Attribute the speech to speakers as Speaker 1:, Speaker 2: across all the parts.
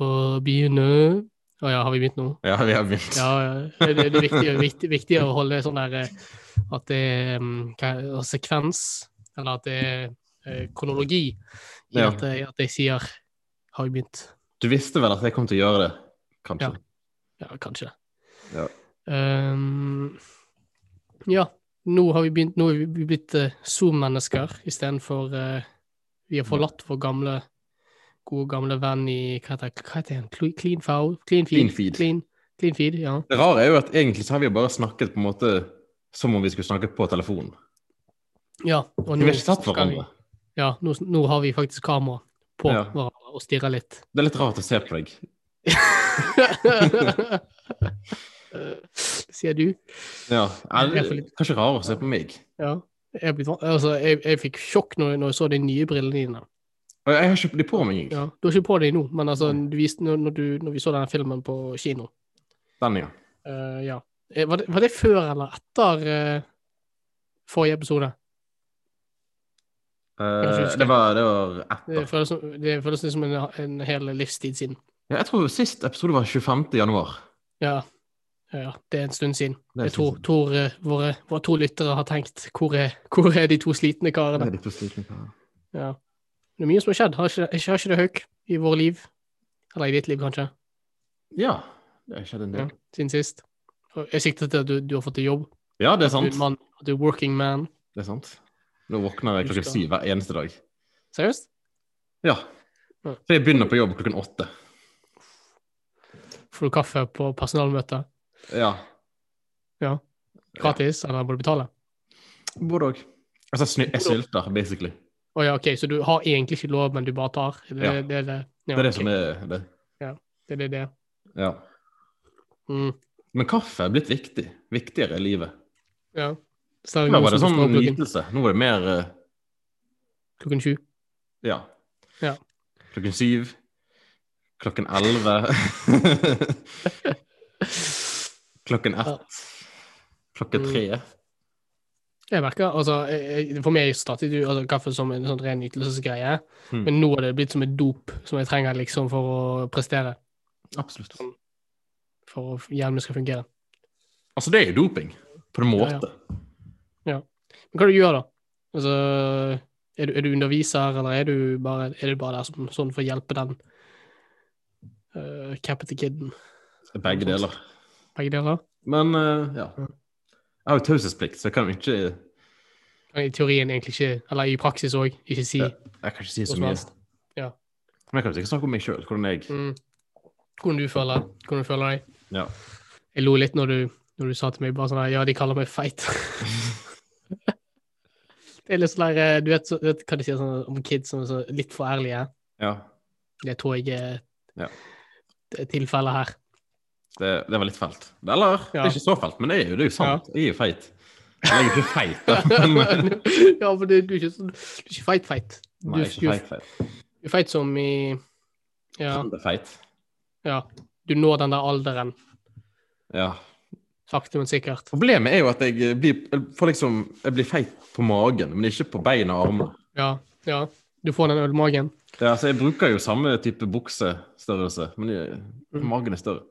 Speaker 1: å begynne. Å ja, har vi begynt nå?
Speaker 2: Ja, vi har begynt.
Speaker 1: Ja, ja. det det er viktig, viktig, viktig å holde sånn der eh, at det er mm, hva- og sekvens, eller at det er eh, kronologi, i
Speaker 2: Ja.
Speaker 1: at, jeg, at jeg sier 'har vi begynt'?
Speaker 2: Du visste vel at jeg kom til å gjøre det? Kanskje.
Speaker 1: Ja, kanskje.
Speaker 2: Ja.
Speaker 1: Ehm, ja, nå har vi begynt, nå er vi blitt eh, Zoom-mennesker istedenfor uh, Vi har forlatt vår gamle, gode gamle venn i Hva heter, hva heter han? Clean, clean, Fowl? clean Feed?
Speaker 2: Clean Feed.
Speaker 1: Clean, clean feed ja.
Speaker 2: Det rare er jo at egentlig så har vi jo bare snakket på en måte som om vi skulle snakket på telefonen.
Speaker 1: ja. Og
Speaker 2: Vi har ikke sett
Speaker 1: skal vi-
Speaker 2: hverandre.
Speaker 1: Ja, nå, nå har vi faktisk kamera på
Speaker 2: Ja.
Speaker 1: hverandre og stirrer litt.
Speaker 2: Det er litt rart å se på deg.
Speaker 1: Sier du?
Speaker 2: Ja. Er,
Speaker 1: Det er for litt-
Speaker 2: kanskje rarere å se på meg.
Speaker 1: Ja. Jeg, er blitt van- altså, jeg, jeg fikk sjokk når, når jeg så de nye brillene dine.
Speaker 2: Og jeg har ikke de på meg. jeg.
Speaker 1: Ja, du har ikke på deg nå, men altså, du viste, når, når, du, når vi så denne filmen på kino
Speaker 2: Den, ja.
Speaker 1: eh, ja. Eh, var, det, var det før eller etter eh, forrige episode?
Speaker 2: Eh,
Speaker 1: husker.
Speaker 2: det, var, det var etter.
Speaker 1: Det føles, som- det føles litt som en, en hel livstid siden.
Speaker 2: Ja, jeg tror sist episode var 25. januar.
Speaker 1: Ja. ja, ja, det er en stund siden.
Speaker 2: Det er
Speaker 1: Jeg tror,
Speaker 2: sånn-
Speaker 1: tror eh, våre, våre to lyttere har tenkt hvor er, hvor er de to slitne
Speaker 2: det er
Speaker 1: karene?
Speaker 2: litt for slitne karer.
Speaker 1: Ja. Det er mye som har skjedd. Har ikke, ikke, har ikke det Hauk i våre liv? Eller i ditt liv, kanskje,
Speaker 2: Ja, det har skjedd en del.
Speaker 1: siden sist? Og Jeg sikter til at du, du har fått deg jobb.
Speaker 2: Ja, det er
Speaker 1: Du er
Speaker 2: sant.
Speaker 1: en mann, at du er working man.
Speaker 2: Det er sant. Nå våkner jeg klokken
Speaker 1: Husker.
Speaker 2: syv hver eneste dag.
Speaker 1: Seriøst?
Speaker 2: Ja.
Speaker 1: Ja.
Speaker 2: Så jeg begynner på jobb klokken åtte.
Speaker 1: Får du kaffe på personalmøte?
Speaker 2: Ja.
Speaker 1: Gratis, eller må du betale?
Speaker 2: Både òg. Altså, jeg sny- jeg snylter, basically.
Speaker 1: Å ja, OK, så du har egentlig ikke lov, men du bare tar? Er Det,
Speaker 2: Ja.
Speaker 1: det, er det, ja,
Speaker 2: Det er det
Speaker 1: ok.
Speaker 2: som er det.
Speaker 1: Det er det. det.
Speaker 2: Ja.
Speaker 1: Mm,
Speaker 2: Men kaffe er blitt viktig. Viktigere i livet.
Speaker 1: ja. Så det er
Speaker 2: Før
Speaker 1: noen
Speaker 2: var det
Speaker 1: som
Speaker 2: sånn
Speaker 1: står opp klokken,
Speaker 2: nytelse. Nå var det mer eh,
Speaker 1: klokken sju.
Speaker 2: ja.
Speaker 1: Ja.
Speaker 2: Klokken syv. Klokken elleve. klokken ett. Klokken
Speaker 1: Mm.
Speaker 2: tre.
Speaker 1: Jeg merker, altså, jeg, jeg- For meg startet jo altså, kaffe som en sånn ren ytelsesgreie,
Speaker 2: Mm.
Speaker 1: men nå er det blitt som et dop som jeg trenger liksom for å prestere,
Speaker 2: Absolutt.
Speaker 1: for å hjernen min skal fungere.
Speaker 2: Altså, det er jo doping. På en måte.
Speaker 1: Men hva du gjør da? Altså, er du, er du underviser, eller er du bare, er du bare der som, sånn for å hjelpe den uh, cappete kiden?
Speaker 2: Begge deler.
Speaker 1: Begge deler?
Speaker 2: Men eh, ja.
Speaker 1: Ja.
Speaker 2: Jeg har jo taushetsplikt, så jeg kan jo ikke Jeg
Speaker 1: Kan I teorien egentlig ikke, eller i praksis òg, ikke si
Speaker 2: Ja. kan ikke si
Speaker 1: Hva
Speaker 2: så
Speaker 1: som
Speaker 2: mye.
Speaker 1: helst. Ja.
Speaker 2: Men jeg kan jo sikkert snakke om meg sjøl, hvordan jeg
Speaker 1: mm, hvordan du føler hvordan du føler deg.
Speaker 2: Ja.
Speaker 1: Jeg lo litt når du, når du sa til meg bare sånn her Ja, de kaller meg feit. det er litt sånn der eh, Du vet, så, du vet hva de sier sånn, om kids som er så litt for ærlige?
Speaker 2: Ja.
Speaker 1: Det tror jeg er
Speaker 2: Ja.
Speaker 1: det er tilfellet her.
Speaker 2: Det, det var litt fælt. Eller det
Speaker 1: Ja.
Speaker 2: er ikke så fælt, men det er jo, det er jo sant. Jeg er jo feit. Jeg er jo ikke feit, da. Men,
Speaker 1: ja, for det, du er ikke sånn Du er ikke feit-feit. Du,
Speaker 2: nei, jeg er
Speaker 1: du
Speaker 2: ikke feit, feit.
Speaker 1: du er feit som i Ja,
Speaker 2: Han er feit.
Speaker 1: ja. Du når den der alderen,
Speaker 2: Ja.
Speaker 1: sakte, men sikkert.
Speaker 2: Problemet er jo at jeg blir, jeg får liksom, jeg blir feit på magen, men ikke på beina og armene.
Speaker 1: Ja, ja. Du får den ølmagen.
Speaker 2: Ja, så jeg bruker jo samme type buksestørrelse, men
Speaker 1: Mm.
Speaker 2: jeg, magen er større.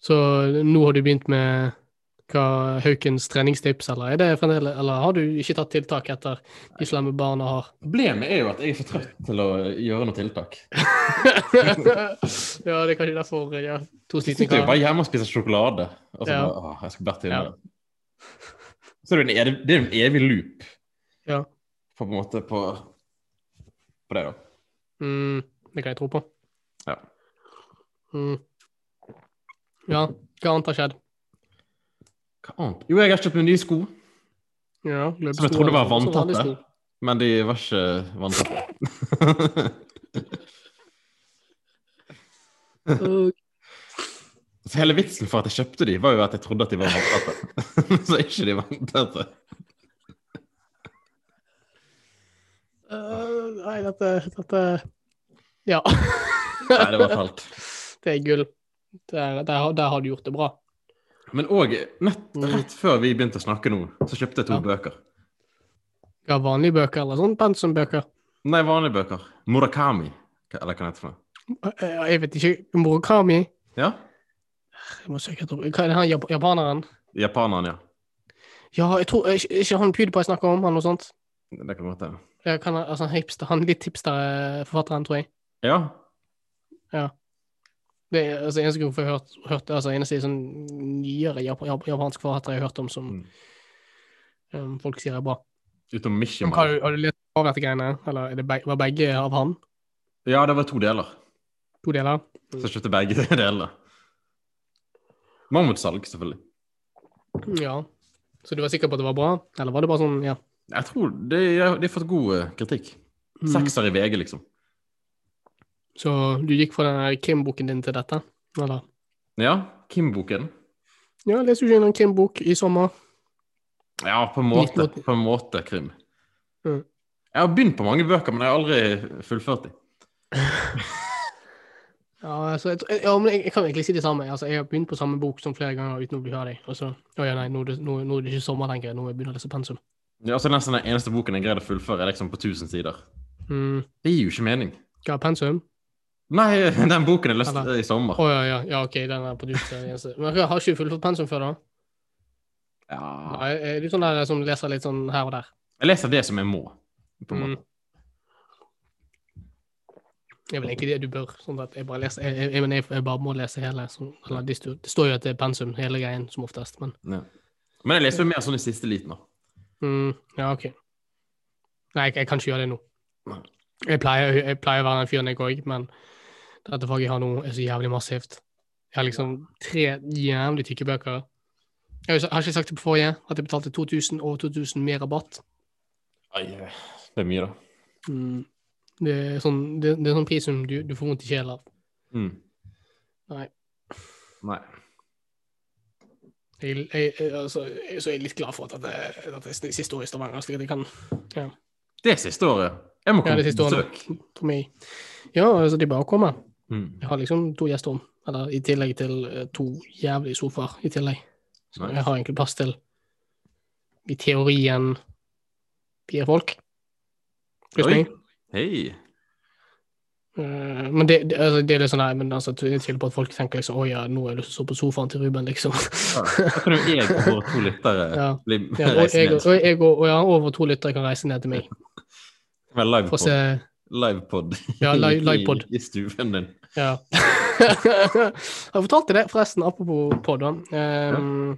Speaker 1: Så nå har du begynt med hva Haukens treningstips, eller er det fremdeles Eller har du ikke tatt tiltak etter de slemme barna har?
Speaker 2: Problemet er jo at jeg er for trøtt til å gjøre noe tiltak.
Speaker 1: ja, det er kanskje derfor ja, to
Speaker 2: Jeg
Speaker 1: slitne
Speaker 2: sitter jo
Speaker 1: karer.
Speaker 2: bare hjemme og spiser sjokolade. Og så
Speaker 1: Ja.
Speaker 2: bare, åh, jeg skal bare til
Speaker 1: Ja.
Speaker 2: det. Så det er jo en evig, det er jo en evig loop
Speaker 1: Ja.
Speaker 2: på, på en måte på, på det, da.
Speaker 1: Mm, det kan jeg tro på.
Speaker 2: Ja.
Speaker 1: Mm. Ja, hva annet har skjedd?
Speaker 2: Hva annet? Jo, jeg har kjøpt meg nye sko,
Speaker 1: Ja,
Speaker 2: som jeg trodde var
Speaker 1: løpesko, vanlige
Speaker 2: vanntette.
Speaker 1: sko.
Speaker 2: Men de var ikke vanntette.
Speaker 1: Og-
Speaker 2: så hele vitsen for at jeg kjøpte de, var jo at jeg trodde at de var vanntette. Men så er ikke de vanntette.
Speaker 1: Øh, nei, dette, dette Ja.
Speaker 2: Nei, det var fælt.
Speaker 1: Det er gull. Der, der, har- der har du gjort det bra.
Speaker 2: Men òg,
Speaker 1: Mm.
Speaker 2: rett før vi begynte å snakke nå, så kjøpte jeg to
Speaker 1: Ja.
Speaker 2: bøker.
Speaker 1: Ja, vanlige bøker eller sånn pensumbøker.
Speaker 2: Nei, vanlige bøker. Murakami. Hva- Eller hva heter det? for noe?
Speaker 1: eh, Jeg vet ikke Murakami?
Speaker 2: Ja.
Speaker 1: Jeg må søke etter Hva er det han jap- japaneren?
Speaker 2: Japaneren, ja.
Speaker 1: Ja, jeg tror Er ikke- er ikke han PewDiePie snakker om, han noe sånt?
Speaker 2: Det kan godt hende.
Speaker 1: Ja, kan, han- altså, han hipster, han litt hipster-forfatteren, tror jeg.
Speaker 2: Ja.
Speaker 1: Det er altså, eneste gruppe jeg har hørt, hørt altså, eneste sånn nyere jap jap japansk forfatter jeg har hørt om som
Speaker 2: Mm.
Speaker 1: um, folk sier er bra.
Speaker 2: Utenom
Speaker 1: Men hva,
Speaker 2: Mishima.
Speaker 1: har du lest av dette greiene? Eller er det beg var begge av han?
Speaker 2: Ja, det var to deler.
Speaker 1: To deler?
Speaker 2: Så jeg kjøpte begge deler. Mammutsalg, selvfølgelig.
Speaker 1: Ja. Så du var sikker på at det var bra? Eller var det bare sånn, ja.
Speaker 2: Jeg tror de, de har fått god eh, kritikk.
Speaker 1: Mm.
Speaker 2: Sekser i VG, liksom.
Speaker 1: Så du gikk fra den her krimboken din til dette? Eller?
Speaker 2: Ja, Kim-boken.
Speaker 1: Ja, jeg leser jo ikke en krimbok i sommer.
Speaker 2: Ja, på en måte.
Speaker 1: 1980.
Speaker 2: På en måte krim.
Speaker 1: Mm.
Speaker 2: Jeg har begynt på mange bøker, men jeg har aldri fullført dem.
Speaker 1: Ja, altså, jeg, tr- ja men jeg, jeg kan egentlig si det samme. Altså, jeg har begynt på samme bok som flere ganger uten å bli ferdig. Og så, å ja, nei, nå er det, nå, nå er det ikke sommer lenger. Nå må jeg begynne å lese pensum.
Speaker 2: Ja, altså Nesten den eneste boken jeg greide å fullføre, er liksom på 1000 sider.
Speaker 1: Mm.
Speaker 2: Det gir jo ikke mening.
Speaker 1: Hva er pensum?
Speaker 2: Nei, den boken jeg leste
Speaker 1: Eller-
Speaker 2: i sommer.
Speaker 1: Å ja, ja, ja, ok, den er produkt er det eneste. Men jeg har ikke fullført pensum før, da?
Speaker 2: Ja.
Speaker 1: Nei, er du sånn der som leser litt sånn her og der?
Speaker 2: Jeg leser det som jeg må. På en
Speaker 1: Mm.
Speaker 2: måte.
Speaker 1: Det er vel egentlig det du bør. sånn at Jeg bare leser, jeg, jeg, jeg, mener, jeg, jeg bare må lese hele. Sånn, eller, det, står, det står jo at det er pensum, hele greien, som oftest, men
Speaker 2: Ja. Men jeg leser jo mer sånn i siste liten. da.
Speaker 1: mm, Ja, OK. Nei, jeg, jeg kan ikke gjøre det nå.
Speaker 2: Nei.
Speaker 1: Jeg pleier, jeg pleier å være den fyren jeg òg, men dette faget jeg har nå, er så jævlig massivt. Jeg har liksom tre jævlig tykke bøker. Jeg har ikke- har ikke sagt det på forrige, at jeg betalte 2000 og 2000 med rabatt.
Speaker 2: Ai, eh, det er mye, da.
Speaker 1: Mm. Det er sånn, det, det er sånn pris som du, du får vondt i kjelen av.
Speaker 2: Mm.
Speaker 1: Nei.
Speaker 2: Nei.
Speaker 1: Jeg, jeg, jeg, altså, jeg, så jeg er litt glad for at det, at det er siste året i Stavanger, slik at jeg kan
Speaker 2: Det er siste året. Jeg må
Speaker 1: Ja,
Speaker 2: komme
Speaker 1: det er siste
Speaker 2: på
Speaker 1: året.
Speaker 2: besøk.
Speaker 1: for meg. Ja, altså, det er bare å komme.
Speaker 2: Mm.
Speaker 1: Jeg har liksom to gjester om, eller i tillegg til eh, to jævlige sofaer i tillegg. Så
Speaker 2: Nice.
Speaker 1: jeg har egentlig plass til i teorien fire folk. Pluss
Speaker 2: Oi.
Speaker 1: meg.
Speaker 2: Hei.
Speaker 1: Eh, Men det, det, altså, det er litt sånn, nei, men altså, jeg tviler på at folk tenker liksom, å ja, nå har jeg lyst til å sove på sofaen til Ruben, liksom.
Speaker 2: Ja. Da kan jo jeg og våre to lyttere
Speaker 1: Ja.
Speaker 2: bli
Speaker 1: Ja, og
Speaker 2: reise
Speaker 1: jeg,
Speaker 2: ned.
Speaker 1: og jeg og, og jeg har over to lyttere kan reise ned til meg
Speaker 2: Med
Speaker 1: for å
Speaker 2: livepod.
Speaker 1: se
Speaker 2: livepod.
Speaker 1: Ja, li- livepod.
Speaker 2: I, I stuen din.
Speaker 1: Ja. Har jeg fortalt deg det, forresten, apropos pod, da. Ehm,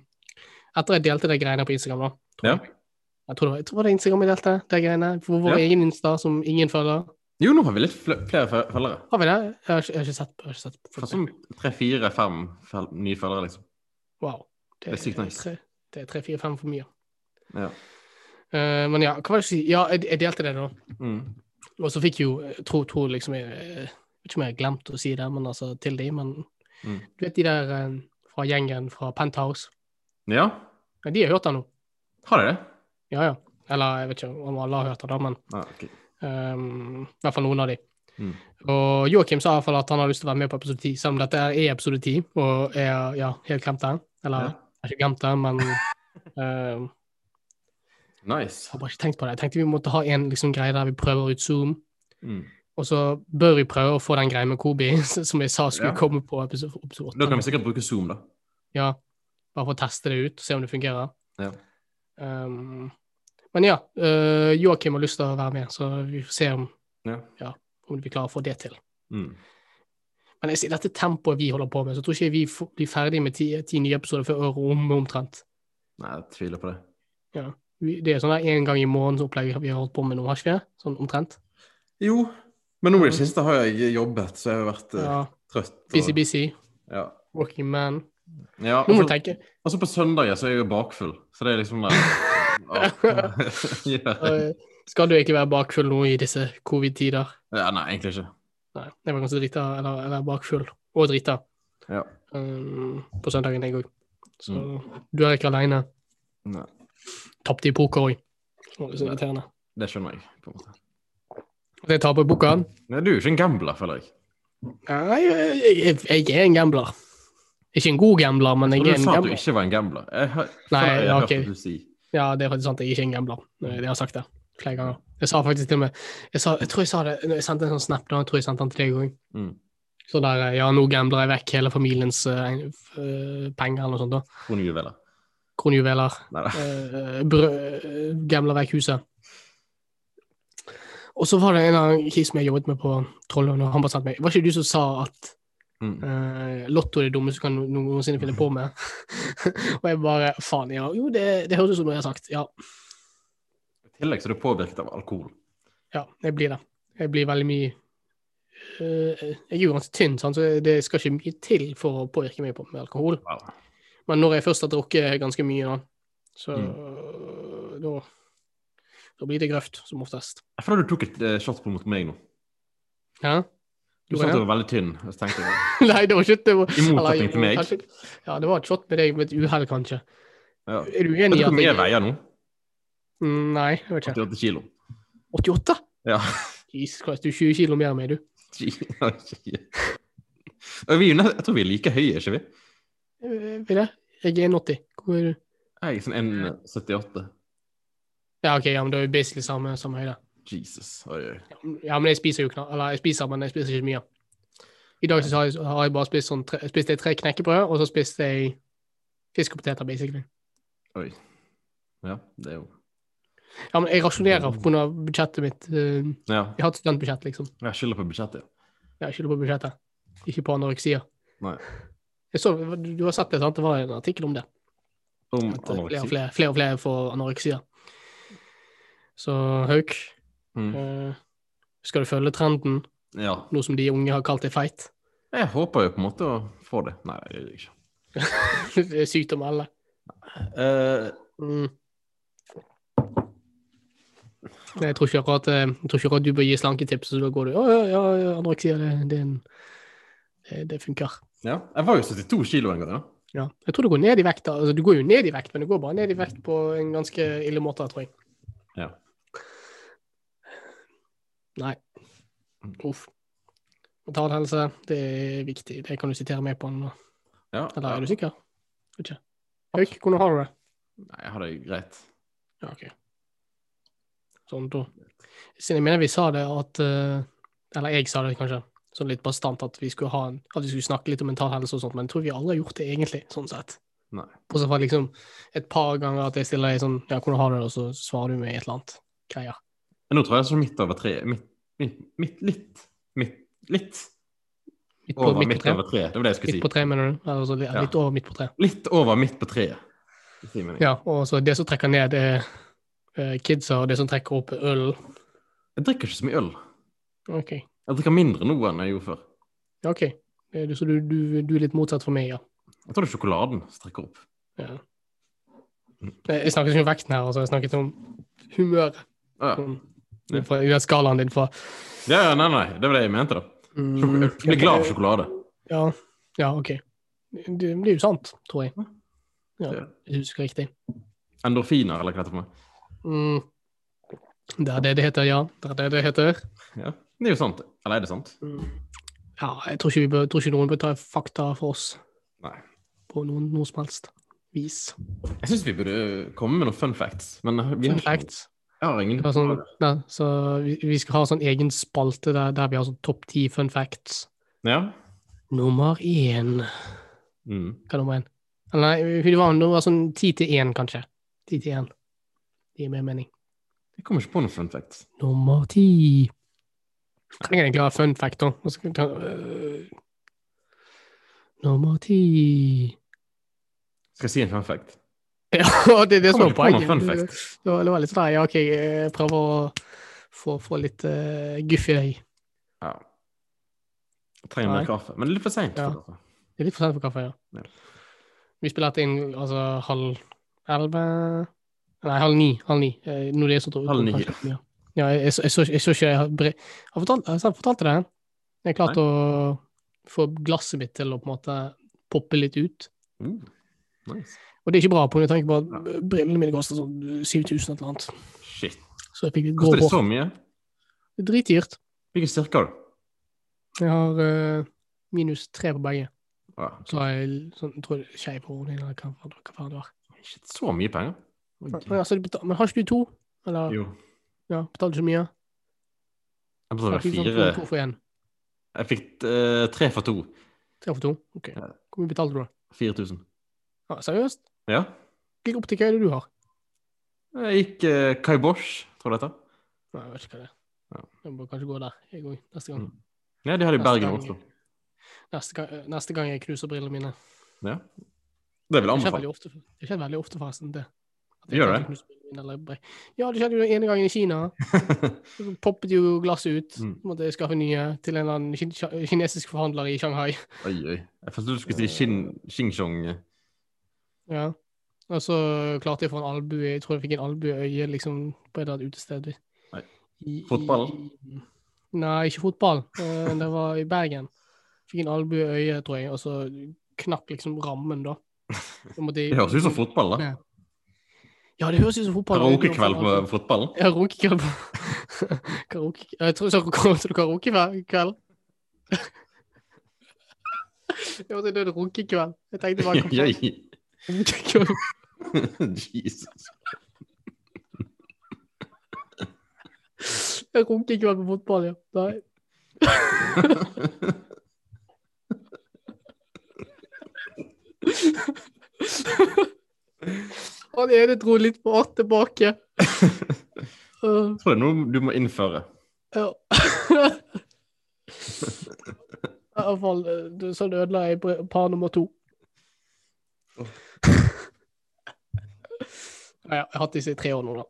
Speaker 1: Etter jeg delte de greiene på Instagram, da.
Speaker 2: Ja.
Speaker 1: Jeg tror det var, jeg tror det var Instagram jeg delte, de greiene. For vår
Speaker 2: Ja.
Speaker 1: egen Insta, som ingen følger.
Speaker 2: Jo, nå har vi litt fl- flere fe- følgere.
Speaker 1: Har vi det? Jeg har ikke, jeg har ikke sett. Jeg har ikke sett
Speaker 2: Fra sånn tre-fire-fem nye følgere, liksom.
Speaker 1: Wow.
Speaker 2: Det er sykt nice.
Speaker 1: tre- Det er tre-fire-fem for mye.
Speaker 2: Ja.
Speaker 1: Eh, men ja, hva var det jeg skulle si? Ja, jeg, jeg delte det, da.
Speaker 2: Mm.
Speaker 1: Og så fikk jo jeg tror, tror liksom jeg, jeg vet ikke om jeg har glemt å si det men altså til de, men
Speaker 2: Mm.
Speaker 1: du vet de der eh, fra gjengen fra Penthouse?
Speaker 2: Ja,
Speaker 1: Ja, de har hørt det nå.
Speaker 2: har de det?
Speaker 1: Ja, ja. Eller jeg vet ikke om alle har hørt det, da, men
Speaker 2: Ah, ok.
Speaker 1: ehm, i hvert fall noen av de.
Speaker 2: Mm.
Speaker 1: Og Joakim sa i hvert fall at han har lyst til å være med på episode 10, selv om dette er i episode 10, og jeg har ja, helt glemt det. Eller
Speaker 2: Ja.
Speaker 1: jeg har ikke glemt det, men ehm, jeg
Speaker 2: Nice.
Speaker 1: har bare ikke tenkt på det. Jeg tenkte vi måtte ha en liksom, greie der vi prøver ut Zoom.
Speaker 2: Mm.
Speaker 1: Og så bør vi prøve å få den greia med Kobi, som jeg sa skulle
Speaker 2: Ja.
Speaker 1: komme på episode, episode 8.
Speaker 2: Da kan vi sikkert bruke Zoom, da.
Speaker 1: Ja, bare for å teste det ut, se om det fungerer.
Speaker 2: Ja.
Speaker 1: Um, men ja, uh, Joakim har lyst til å være med, så vi får se om,
Speaker 2: Ja.
Speaker 1: om vi klarer å få det til.
Speaker 2: Mm.
Speaker 1: Men jeg, sier, dette tempoet vi holder på med, så tror ikke jeg vi får- blir ferdig med ti, ti nye episoder før året om omtrent.
Speaker 2: Nei, jeg tviler på det.
Speaker 1: Vi, det er sånn der en gang i månedens opplegg vi har holdt på med nå, har ikke vi det? Sånn omtrent.
Speaker 2: Jo, men nå i det siste har jeg jobbet, så jeg har vært eh,
Speaker 1: Ja,
Speaker 2: trøtt. og-
Speaker 1: busy, busy.
Speaker 2: Ja.
Speaker 1: Working man.
Speaker 2: ja altså-
Speaker 1: Nå må du
Speaker 2: og så-
Speaker 1: tenke.
Speaker 2: og så på søndager så er jeg jo bakfull, så det er liksom der. Ja. ja.
Speaker 1: Uh, skal du egentlig være bakfull nå i disse covid-tider?
Speaker 2: ja, nei, egentlig ikke.
Speaker 1: Nei, jeg var ganske drita, eller, eller bakfull og drita
Speaker 2: Ja.
Speaker 1: um, på søndagen, jeg òg. Så
Speaker 2: Mm.
Speaker 1: du er ikke aleine.
Speaker 2: Nei,
Speaker 1: Tapte i poker òg. Det var litt sånn irriterende.
Speaker 2: det skjønner jeg, på en måte.
Speaker 1: At jeg taper i poker?
Speaker 2: Nei, du er jo ikke en gambler, føler jeg.
Speaker 1: Nei, jeg, jeg, jeg er en gambler. Ikke en god gambler, men
Speaker 2: Jeg
Speaker 1: jeg
Speaker 2: trodde
Speaker 1: er
Speaker 2: du
Speaker 1: en
Speaker 2: sa at du
Speaker 1: gambler.
Speaker 2: ikke var en gambler. Jeg har,
Speaker 1: Nei,
Speaker 2: føler jeg
Speaker 1: ja,
Speaker 2: har
Speaker 1: ok.
Speaker 2: hørt det du si.
Speaker 1: Ja, det er faktisk sant, jeg er ikke en gambler. Det har jeg sagt det flere ganger. Jeg sa faktisk til og med Jeg, sa, jeg tror jeg sa det når jeg sendte en sånn snap, da. Jeg tror jeg sendte den til deg òg.
Speaker 2: Mm.
Speaker 1: Sånn der eh, Ja, nå gambler jeg vekk hele familiens eh, f- eh, penger eller noe sånt. da.
Speaker 2: Kronjuveler.
Speaker 1: Kronjuveler.
Speaker 2: Nei da.
Speaker 1: eh, brød, eh, gamla vekk huset. Og så var det en av de som jeg jobbet med på Trollhøen, og han bare sa til meg Var ikke det du som sa at
Speaker 2: Mm.
Speaker 1: eh, lotto er det dummeste du kan noen- noensinne finne på med? og jeg bare Faen, ja. Jo, det, det høres ut som noe jeg har sagt. Ja.
Speaker 2: I tillegg så er du påvirket av alkohol.
Speaker 1: ja, jeg blir det. Jeg blir veldig mye eh, Jeg er jo ganske tynn, sant? så det skal ikke mye til for å påvirke meg på med alkohol.
Speaker 2: Wow.
Speaker 1: Men når jeg først har drukket ganske mye, da, så
Speaker 2: Mm.
Speaker 1: da, da blir det grøft, som oftest.
Speaker 2: Jeg føler du tok et eh, shot på mot meg nå.
Speaker 1: Ja?
Speaker 2: Du
Speaker 1: Gjorde
Speaker 2: sa at
Speaker 1: jeg?
Speaker 2: du var veldig tynn. og Så tenkte jeg,
Speaker 1: Nei, det var ikke det var,
Speaker 2: I motsetning til meg.
Speaker 1: kanskje- ja, det var et shot med deg med et uhell, kanskje.
Speaker 2: ja.
Speaker 1: Er du
Speaker 2: Vet
Speaker 1: uenig i
Speaker 2: du hvor
Speaker 1: at
Speaker 2: mye
Speaker 1: jeg
Speaker 2: jeg veier nå?
Speaker 1: Mm, Nei, jeg vet ikke.
Speaker 2: 88 kilo.
Speaker 1: 88?
Speaker 2: Ja.
Speaker 1: Jesus Christ, du er 20 kilo mer enn meg, du.
Speaker 2: Og vi er jo nett- jeg tror vi er like høye, er ikke vi?
Speaker 1: Eh, Vil jeg? Jeg er 1,80. Hvor er du?
Speaker 2: Jeg er sånn 1,78.
Speaker 1: Ja, OK, ja, men da er vi basically samme, samme høyde.
Speaker 2: Jesus. Oi, oi.
Speaker 1: Ja, men jeg spiser jo knall... Eller, jeg spiser, men jeg spiser ikke mye. I dag så har jeg, har jeg bare spist sånn tre, spiste jeg tre knekkebrød, og så spiste jeg fisk og poteter, basically.
Speaker 2: oi. Ja, det er jo
Speaker 1: Ja, men jeg rasjonerer pga. budsjettet mitt. eh,
Speaker 2: Ja,
Speaker 1: Jeg har et studentbudsjett, liksom.
Speaker 2: jeg skylder på budsjettet. ja.
Speaker 1: Jeg skylder på budsjettet, ikke på anoreksia.
Speaker 2: Nei.
Speaker 1: Jeg så, du du har sett det, sant? Det var en artikkel om det.
Speaker 2: Om
Speaker 1: At eh, flere og
Speaker 2: Mm, anoreksi.
Speaker 1: flere, flere, og flere får anoreksia. Så Hauk,
Speaker 2: Mm.
Speaker 1: eh, skal du følge trenden,
Speaker 2: Ja.
Speaker 1: nå som de unge har kalt deg feit?
Speaker 2: Jeg håper jo på en måte å få det. Nei, det gjør jeg ikke.
Speaker 1: det er sykt å melde.
Speaker 2: Eh,
Speaker 1: Mm. Nei, Jeg tror ikke akkurat, eh, jeg tror ikke akkurat du bør gi slanketips, så da går du Å ja, ja, ja anoreksi, ja, det, det, er en- det, det funker.
Speaker 2: ja. Jeg var jo 72 kilo en gang. da.
Speaker 1: Ja. Jeg tror du går ned i vekt, da. Altså, du går jo ned i vekt, men du går bare ned i vekt på en ganske ille måte, tror jeg.
Speaker 2: Ja.
Speaker 1: Nei. Uff. Mental helse, det er viktig. Det kan du sitere meg på. nå.
Speaker 2: Ja.
Speaker 1: Eller er
Speaker 2: ja.
Speaker 1: du sikker? Vet ikke. Hauk, hvordan har du det?
Speaker 2: Nei, jeg har det greit.
Speaker 1: Ja, ok. Sånn, da. Siden jeg mener vi sa det at eh, Eller jeg sa det kanskje sånn litt bastant at vi skulle, ha en, at vi skulle snakke litt om mental helse og sånt, men jeg tror vi aldri har gjort det egentlig, sånn sett.
Speaker 2: Nei.
Speaker 1: Bortsett fra liksom et par ganger at jeg stiller deg sånn Ja, hvordan har du det? Og så svarer du med et eller annet greier.
Speaker 2: Men nå tror jeg jeg er sånn midt over tre. Midt, midt, midt litt. Midt, litt
Speaker 1: Midt på,
Speaker 2: over
Speaker 1: midt på
Speaker 2: midt
Speaker 1: tre.
Speaker 2: over tre. Det var det jeg
Speaker 1: Midt
Speaker 2: skulle
Speaker 1: på
Speaker 2: si.
Speaker 1: tre, mener du? Eller så, li-
Speaker 2: Ja.
Speaker 1: Litt over midt på tre.
Speaker 2: Litt over midt på treet. Det sier meningen.
Speaker 1: Ja, og så det som trekker ned, er eh, kidsa, og det som trekker opp, er øl.
Speaker 2: Jeg drikker ikke så mye øl.
Speaker 1: OK.
Speaker 2: Jeg drikker mindre nå enn jeg gjorde før.
Speaker 1: Ja, ok. Eh, du- Så du, du, du er litt motsatt for meg, ja.
Speaker 2: Jeg tror det er sjokoladen som trekker opp.
Speaker 1: Ja. Jeg jeg snakket ikke om vekten her, altså. Jeg snakket om humøret.
Speaker 2: Å, ja.
Speaker 1: Sånn, fra, I den skalaen din fra
Speaker 2: ja, ja, nei, nei. Det var det jeg mente, da.
Speaker 1: mm,
Speaker 2: Jeg blir glad av sjokolade.
Speaker 1: Ja, ja, OK. Det det er jo sant, tror jeg. Ja,
Speaker 2: Ja.
Speaker 1: jeg husker riktig.
Speaker 2: Endorfiner, eller hva det heter. for noe.
Speaker 1: Mm. Det er det det heter, ja. Det er det det heter.
Speaker 2: Ja. Det er jo sant. Eller er det sant?
Speaker 1: Mm. Ja, jeg tror ikke, vi bør, tror ikke noen bør ta fakta for oss
Speaker 2: Nei.
Speaker 1: på noen, noe som helst vis.
Speaker 2: Jeg syns vi burde komme med noen fun facts, men eh, vi
Speaker 1: Fun
Speaker 2: har, ikke-
Speaker 1: facts.
Speaker 2: jeg har ingen.
Speaker 1: Det var sånn, ja, så vi, vi skal ha sånn egen spalte der, der vi har sånn topp ti fun facts.
Speaker 2: Ja.
Speaker 1: Nummer én.
Speaker 2: Mm.
Speaker 1: Hva er nummer én? Eller Nei, det var, det var sånn ti til én, kanskje. Ti til én. Det gir mer mening.
Speaker 2: Jeg kommer ikke på noen fun facts.
Speaker 1: Nummer ti. Jeg trenger egentlig ha fun fact, da. Og så kan vi ta, øh. Nummer ti
Speaker 2: Skal jeg si en fun fact?
Speaker 1: Ja, det er det som
Speaker 2: Kommer
Speaker 1: er poenget.
Speaker 2: ikke på noen fun
Speaker 1: Det-
Speaker 2: fact.
Speaker 1: Det var det var litt sånn der, ja, OK, jeg prøver å få, få litt øh, guff i deg.
Speaker 2: Ja. Jeg trenger
Speaker 1: Nei.
Speaker 2: mer kaffe. Men det er litt for altså. seint.
Speaker 1: Ja.
Speaker 2: for kaffe.
Speaker 1: Det er litt for sent for kaffe, ja.
Speaker 2: Ja.
Speaker 1: Vi spiller dette inn altså halv elleve Nei, halv ni. Halv ni. Eh, Når det er så tror
Speaker 2: Halv ni, ja.
Speaker 1: Ja, ja jeg, jeg, så- jeg, så, jeg så ikke jeg har, bre... har, fortalt, har jeg fortalt deg det? Jeg har klart å få glasset mitt til å på en måte poppe litt ut.
Speaker 2: Mm. Nice.
Speaker 1: Og det er ikke bra, på grunn av tanke på at brillene mine koster sånn 7000 eller noe annet.
Speaker 2: Shit.
Speaker 1: Så jeg fikk litt grå
Speaker 2: Koster det
Speaker 1: hår.
Speaker 2: så mye?
Speaker 1: Det er Dritdyrt.
Speaker 2: Hvilken styrke har du?
Speaker 1: Jeg har eh, minus tre på begge.
Speaker 2: Ja.
Speaker 1: Så har jeg sånn, jeg tror skeiv horn eller hva faen- hva faen det var.
Speaker 2: Shit, så mye penger.
Speaker 1: Men, men altså, du betal- men har ikke du to? Eller
Speaker 2: Jo.
Speaker 1: ja, betaler du så mye?
Speaker 2: Jeg betaler
Speaker 1: Ja, fy faen,
Speaker 2: fire
Speaker 1: to for én.
Speaker 2: Jeg fikk eh, tre for to.
Speaker 1: Tre for to? Ok.
Speaker 2: Ja.
Speaker 1: Hvor mye betalte du, da?
Speaker 2: 4000.
Speaker 1: Ja, seriøst?
Speaker 2: Ja.
Speaker 1: Hvilken optiker er det du har?
Speaker 2: Jeg gikk eh, Kai Bosch, tror jeg det heter.
Speaker 1: Nei, jeg vet ikke hva det er.
Speaker 2: Ja. Mm.
Speaker 1: Jeg må kanskje gå der jeg òg, neste gang.
Speaker 2: Ja, de har det i
Speaker 1: Neste
Speaker 2: Bergen
Speaker 1: gang.
Speaker 2: og Oslo.
Speaker 1: Neste gang, neste gang jeg knuser brillene mine.
Speaker 2: Ja.
Speaker 1: Det
Speaker 2: Det vil jeg
Speaker 1: skjer
Speaker 2: anbefale.
Speaker 1: veldig ofte, det skjer veldig ofte forresten. det. At
Speaker 2: Gjør
Speaker 1: kanskje
Speaker 2: det?
Speaker 1: knuser brillene mine eller bre- Ja, det skjedde jo den ene gangen i Kina. Så poppet jo glasset ut.
Speaker 2: Mm.
Speaker 1: Så måtte jeg skaffe nye til en eller annen kin- kinesisk forhandler i Shanghai.
Speaker 2: Oi, oi. Jeg forsto du skulle si Shin- Xingchong.
Speaker 1: Ja. Og så klarte jeg å få en albue. Jeg tror jeg fikk en albue i øyet liksom, på et eller annet utested.
Speaker 2: Nei.
Speaker 1: I-
Speaker 2: Fotball?
Speaker 1: i- Nei, ikke fotball. Eh, Det var i Bergen. Fikk en albue i øyet, tror jeg, og så knakk liksom rammen, da. Så måtte jeg-
Speaker 2: Det høres ut som fotball, da.
Speaker 1: Ja. Ja, det høres ut som fotball.
Speaker 2: Karaokekveld på fotballen.
Speaker 1: altså. Ja, Karaokekveld på Karaoke... Jeg tror så så du karaokekveld. Jeg måtte dø runkekveld. Jeg tenkte bare hva faen?
Speaker 2: Oi,
Speaker 1: Runkekveld.
Speaker 2: oi. Jesus.
Speaker 1: Jeg runker ikke på fotball, ja. Nei. Han ene dro litt på att tilbake. Uh,
Speaker 2: Jeg tror det er noe du må innføre.
Speaker 1: ja. I hvert fall eh, du- sånn ødela jeg bre- par nummer to. Ja, ja, jeg har hatt disse i tre år nå, da.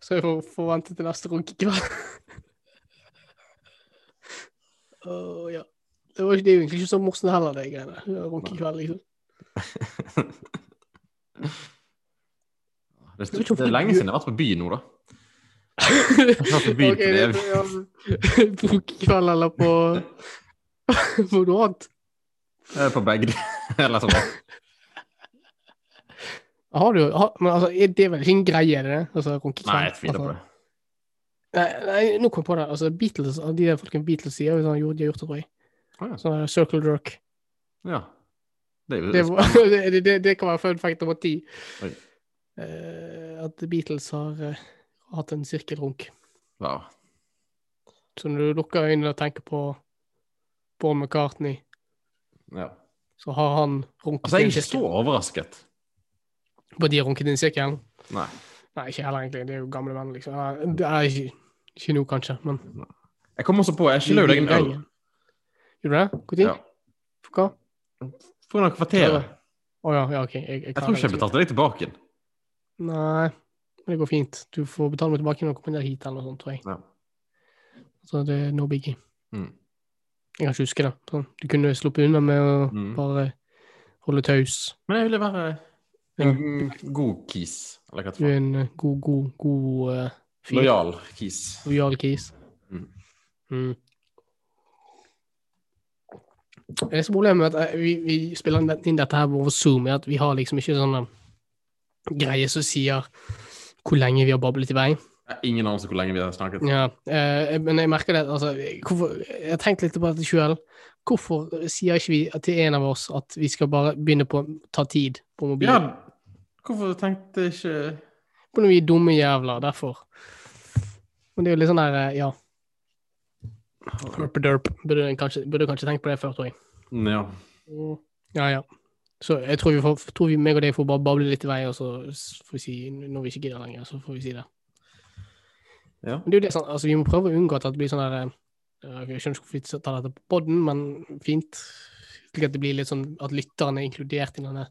Speaker 1: Så jeg får, får vente til neste runkekveld. Åh, ja. Det, var ikke, det er jo egentlig ikke så morsomt heller, det greiene. Runkekveld, liksom.
Speaker 2: Det,
Speaker 1: vet ikke hvorfor
Speaker 2: det er lenge
Speaker 1: du-
Speaker 2: siden jeg har vært på by nå, da. Jeg har vært på by
Speaker 1: Ok,
Speaker 2: på det.
Speaker 1: det- ja, på Runkekveld eller på på noe annet.
Speaker 2: Eh, På begge Eller sånn.
Speaker 1: Har du, har, men altså, er det er vel ikke en greie, er det det? Altså, runkekveld?
Speaker 2: Nei, jeg tviler på det.
Speaker 1: Nei, nei, nå kom jeg på det. Altså, Beatles, de der folkene Beatles sier, jo sånn, jo, de har gjort det, tror jeg.
Speaker 2: Å, ja.
Speaker 1: Sånn eh, circle jerk.
Speaker 2: ja. Det er jo
Speaker 1: Det, var- det, det, det kan være fun fact nummer ti.
Speaker 2: Oi.
Speaker 1: Eh, at Beatles har eh, hatt en sirkelrunk.
Speaker 2: wow.
Speaker 1: Så når du lukker øynene og tenker på Paul McCartney,
Speaker 2: ja.
Speaker 1: så har han runket
Speaker 2: Altså, jeg
Speaker 1: i
Speaker 2: er
Speaker 1: en
Speaker 2: ikke så
Speaker 1: sirkel.
Speaker 2: overrasket.
Speaker 1: På de har runket i en sirkel?
Speaker 2: Nei.
Speaker 1: Nei, ikke heller, egentlig. Det er jo gamle venner, liksom. Nei, Det er ikke, ikke nå, kanskje, men
Speaker 2: Jeg kom også på Jeg skylder jo deg en øl.
Speaker 1: Gjorde du det? Når?
Speaker 2: Ja.
Speaker 1: For hva?
Speaker 2: For noen kvarteret.
Speaker 1: Å ja, ja, OK. Jeg, jeg,
Speaker 2: Jeg tror ikke jeg betalte deg tilbake. igjen.
Speaker 1: Nei, men det går fint. Du får betale meg tilbake når du kommer ned hit, eller noe sånt, tror jeg.
Speaker 2: Ja.
Speaker 1: Så det er no biggie.
Speaker 2: Mm.
Speaker 1: Jeg kan ikke huske det. Sånn. Du kunne sluppet unna med å
Speaker 2: Mm.
Speaker 1: bare holde taus.
Speaker 2: Men jeg ville være en god kis. Eller hva
Speaker 1: Du
Speaker 2: det
Speaker 1: er
Speaker 2: var.
Speaker 1: en eh, god, god, god eh, fyr.
Speaker 2: Lojal kis.
Speaker 1: Lojal kis.
Speaker 2: Mm.
Speaker 1: Mm. Det som er problemet med at eh, vi, vi spiller inn- inn dette her over Zoom, er at vi har liksom ikke sånne greier som sier hvor lenge vi har bablet i vei.
Speaker 2: Jeg har ingen anelse hvor lenge vi har snakket.
Speaker 1: Ja, eh, men jeg merker det altså, hvorfor, Jeg har tenkt litt på dette sjøl. Hvorfor sier ikke vi til en av oss at vi skal bare begynne på å ta tid på
Speaker 2: Ja,
Speaker 1: mobilen?
Speaker 2: hvorfor tenkte jeg ikke
Speaker 1: Fordi vi er dumme jævler, derfor. Men det er jo litt sånn der eh, Ja. Herpederp. Burde kanskje, burde kanskje tenkt på det før, tror jeg.
Speaker 2: Ja.
Speaker 1: Ja, ja. Så jeg tror vi, får, tror vi meg og deg får bare bable litt i vei, og så s- får vi si når vi ikke gidder lenger, så får vi si det.
Speaker 2: ja.
Speaker 1: Men det er jo det, sånn, altså, vi må prøve å unngå at det blir sånn der eh, Jeg skjønner ikke hvorfor vi tar dette på podden, men fint. Slik at det blir litt sånn at lytteren er inkludert i denne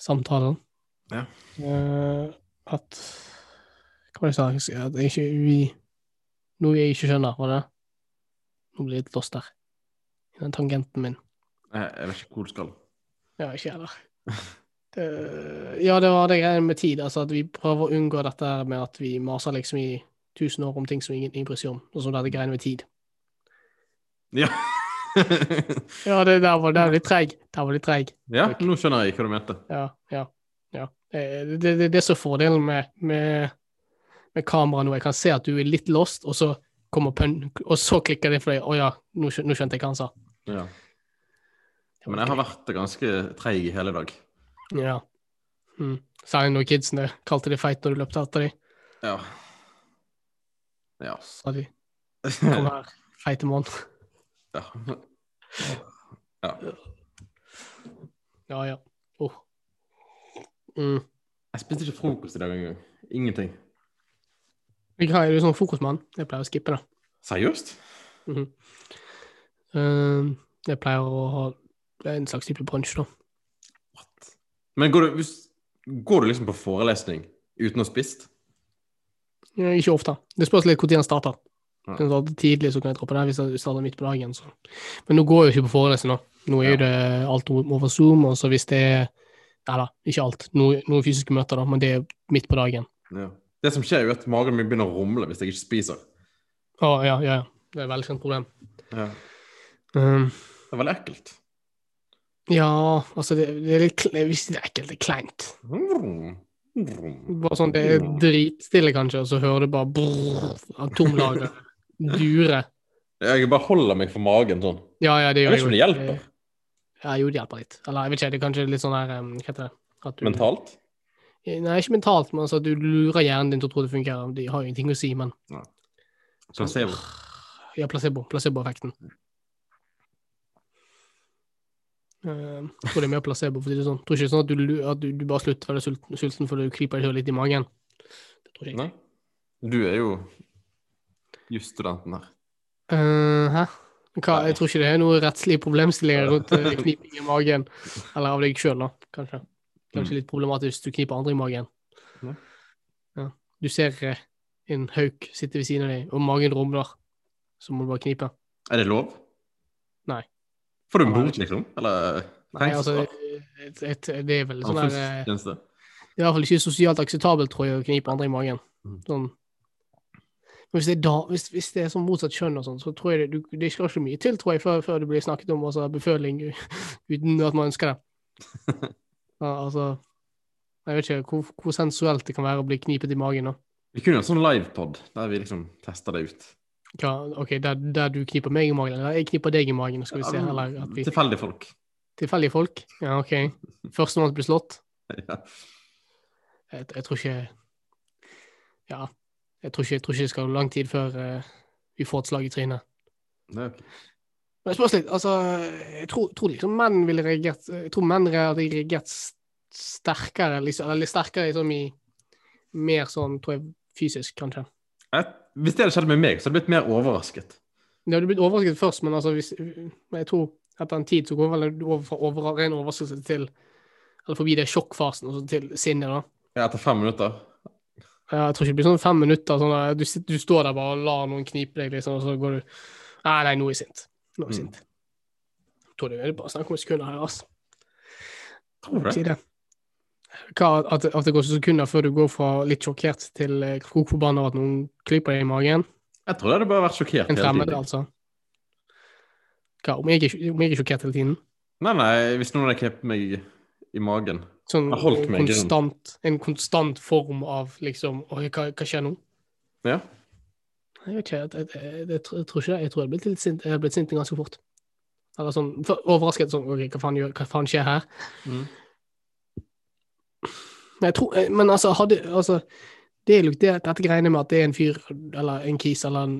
Speaker 1: samtalen.
Speaker 2: Ja.
Speaker 1: Eh, at Hva var det jeg sa? At jeg ikke vi Noe jeg ikke skjønner, var det det? Nå blir jeg litt lost der. I den tangenten min.
Speaker 2: Jeg, jeg vet ikke hvor du skal.
Speaker 1: Ja, ikke heller. Det- Ja, det var det greiene med tid. Altså at vi prøver å unngå dette her med at vi maser liksom i tusen år om ting som ingen ingen bryr seg om. Og så dette greiene med tid.
Speaker 2: Ja.
Speaker 1: Ja, det der var, der var litt treig. Der var litt treig.
Speaker 2: ja, nå skjønner jeg hva du mente.
Speaker 1: Ja, ja. ja. Eh, Det, det, det er så fordelen med, med, med kamera nå. Jeg kan se at du er litt lost, og så kommer pønn, og så klikker det for deg. Å ja, nå, skjø- nå skjønte jeg hva han sa.
Speaker 2: Ja.
Speaker 1: Det var
Speaker 2: Men jeg har
Speaker 1: greit.
Speaker 2: vært ganske treig i hele dag.
Speaker 1: Ja. Mm. Særlig når kidsene kalte deg feit når du løpte etter dem.
Speaker 2: Ja. Ja.
Speaker 1: Sa de. Kom her. feite mann.
Speaker 2: Ja. ja.
Speaker 1: Ja, ja. Åh. Mm.
Speaker 2: Jeg spiste ikke frokost i dag engang. Ingenting.
Speaker 1: Jeg har- er du sånn frokostmann? Jeg pleier å skippe det.
Speaker 2: Seriøst?
Speaker 1: Mhm. Eh, jeg pleier å ha det er en slags type brunsj, da.
Speaker 2: What? Men går du, hvis, går du liksom på forelesning uten å ha spist?
Speaker 1: Eh, Ikke ofte. Det spørs litt når den starter.
Speaker 2: Ja.
Speaker 1: Hvis den starter tidlig, så kan jeg droppe den. Hvis den starter midt på dagen, så Men nå går jeg jo ikke på forelesning, da. Nå er jo det alt over Zoom, og så hvis det er Nei da, ikke alt. Noen, noen fysiske møter, da, men det er midt på dagen.
Speaker 2: Ja. Det som skjer, er jo at magen min begynner å rumle hvis jeg ikke spiser.
Speaker 1: Å, ja, ja, ja. Det er et velkjent problem.
Speaker 2: Ja.
Speaker 1: Um,
Speaker 2: Det er veldig ekkelt.
Speaker 1: ja, altså, det, det er litt kle- jeg vil ikke si det er ekkelt, det er kleint.
Speaker 2: Vrum, vrum.
Speaker 1: Bare sånn, det er dritstille, kanskje, og så hører du bare brrr, atomlageret dure.
Speaker 2: Jeg bare holder meg for magen sånn.
Speaker 1: Ja, ja, det
Speaker 2: Jeg
Speaker 1: gjør
Speaker 2: vet ikke om det
Speaker 1: også.
Speaker 2: hjelper
Speaker 1: Ja, jo, det hjelper litt. Eller jeg vet ikke, det er kanskje litt sånn der um, Hva heter det? At du-
Speaker 2: mentalt.
Speaker 1: Nei, ikke mentalt, men altså at du lurer hjernen din til å tro det fungerer. De har jo ingenting å si, men
Speaker 2: Placebo.
Speaker 1: Ja, placebo. Placeboeffekten. Uh, tror det er mer placebo, for å si det sånn. Tror ikke sånn at du, lu- at du, du bare slutter å være sulten, sulten fordi du klyper deg selv litt i magen. Det tror jeg ikke.
Speaker 2: Nei. Du er jo jusstudenten her.
Speaker 1: Eh, hæ? Hva, jeg tror ikke det er noen rettslige problemstillinger rundt eh, kniping i magen. Eller av deg sjøl, da, kanskje. Kanskje litt problematisk hvis du kniper andre i magen.
Speaker 2: Ja.
Speaker 1: Ja. Du ser eh, en hauk sitte ved siden av deg, og magen rumler. Så må du bare knipe.
Speaker 2: Er det lov?
Speaker 1: Nei.
Speaker 2: Får du
Speaker 1: Nei,
Speaker 2: bot, liksom? Eller
Speaker 1: Nei, altså,
Speaker 2: fengselsstraff?
Speaker 1: et, et, det er vel sånn der eh,
Speaker 2: Samfunnstjeneste?
Speaker 1: Det er i hvert fall ikke sosialt akseptabelt, tror jeg, å knipe andre i magen.
Speaker 2: Mm.
Speaker 1: Sånn. Men hvis det er, da, hvis, hvis det er sånn motsatt kjønn og sånn, så tror jeg det, du, det skal ikke mye til, tror jeg, før, før det blir snakket om altså, beføling u- uten at man ønsker det. Ja, altså Jeg vet ikke hvor, hvor sensuelt det kan være å bli knipet i magen. Da.
Speaker 2: Vi kunne jo en sånn livepod der vi liksom tester det ut.
Speaker 1: Hva, ok, der, der du kniper meg i magen, eller jeg kniper deg i magen, skal vi se. Eller at vi
Speaker 2: Tilfeldige folk.
Speaker 1: Tilfeldige folk. Ja, OK. Førstemann til å bli slått.
Speaker 2: Ja.
Speaker 1: jeg, jeg tror ikke Ja. Jeg tror ikke, jeg tror ikke det skal lang tid før eh, vi får et slag i trynet.
Speaker 2: Det er ok.
Speaker 1: Men det spørs litt. Altså, jeg tror, tror liksom menn ville reagert Jeg tror menn hadde reagert s- sterkere, liksom, eller litt sterkere liksom i Mer sånn, tror jeg, fysisk, kanskje.
Speaker 2: Jeg, hvis det hadde skjedd med meg, så hadde jeg blitt mer overrasket.
Speaker 1: Jeg hadde blitt overrasket først, men altså, hvis, men jeg tror etter en tid så går vel du over fra over, ren overraskelse til Eller forbi det sjokkfasen og så til sinnet, da.
Speaker 2: Ja, etter fem minutter.
Speaker 1: Ja, jeg tror ikke det blir sånn fem minutter. Sånn at du, sitter- du står der bare og lar noen knipe deg, liksom, og så går du Nei, nei, nå er jeg sint. Nå er jeg
Speaker 2: Mm.
Speaker 1: sint. Jeg tror det er bare snakk om sekunder her, altså.
Speaker 2: Tror du
Speaker 1: Si
Speaker 2: det?
Speaker 1: det. Hva, at, at det går sekunder før du går fra litt sjokkert til eh, kok forbanna over at noen klyper deg i magen.
Speaker 2: Jeg tror det hadde bare vært
Speaker 1: En
Speaker 2: sjokkert hele
Speaker 1: fremmed,
Speaker 2: tiden.
Speaker 1: altså. Hva, om jeg, er- om jeg er sjokkert hele tiden?
Speaker 2: Nei, nei, hvis noen hadde knept meg i magen.
Speaker 1: Sånn
Speaker 2: Jeg holdt meg i grunnen.
Speaker 1: konstant, en konstant form av liksom Oi, hva, hva skjer nå?
Speaker 2: Ja.
Speaker 1: Jeg vet ikke, jeg, jeg, jeg, jeg, tror- jeg tror ikke det. Jeg tror jeg hadde blitt litt sint, jeg hadde blitt sint ganske fort. Eller sånn for, overrasket sånn OK, hva faen, gjør, hva faen skjer her?
Speaker 2: Mm.
Speaker 1: Men Jeg tror, eh, men altså, hadde altså, det er jo det, Dette greiene med at det er en fyr eller en kis eller en,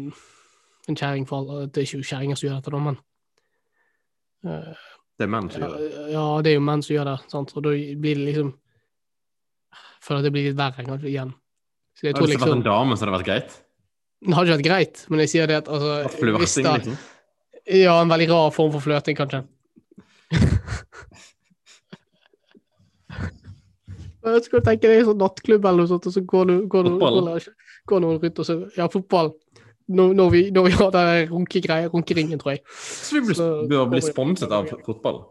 Speaker 1: en kjerring for all- Det er ikke jo kjerringer som gjør dette, da, men eh,
Speaker 2: Det er menn som gjør det.
Speaker 1: ja, ja, det er jo menn som gjør det, sant? og da blir det liksom jeg Føler at det blir litt verre kanskje, igjen. Så jeg
Speaker 2: Hvis
Speaker 1: tror
Speaker 2: det hadde vært
Speaker 1: liksom
Speaker 2: en dame, så hadde det vært greit.
Speaker 1: Det hadde ikke vært greit, men jeg sier det at
Speaker 2: At
Speaker 1: altså, hvis
Speaker 2: flørting,
Speaker 1: det,
Speaker 2: liksom.
Speaker 1: Ja, en veldig rar form for flørting, kanskje. Jeg skulle tenke deg en sånn nattklubb eller noe sånt, og så går, du, går, du,
Speaker 2: Fotball.
Speaker 1: går, går noen rundt og så Ja, fotball. Når, når, vi, når vi har den der runkegreia, runkeringen, tror jeg.
Speaker 2: Så vi blir,
Speaker 1: Så-
Speaker 2: bør bli sponset av fotball.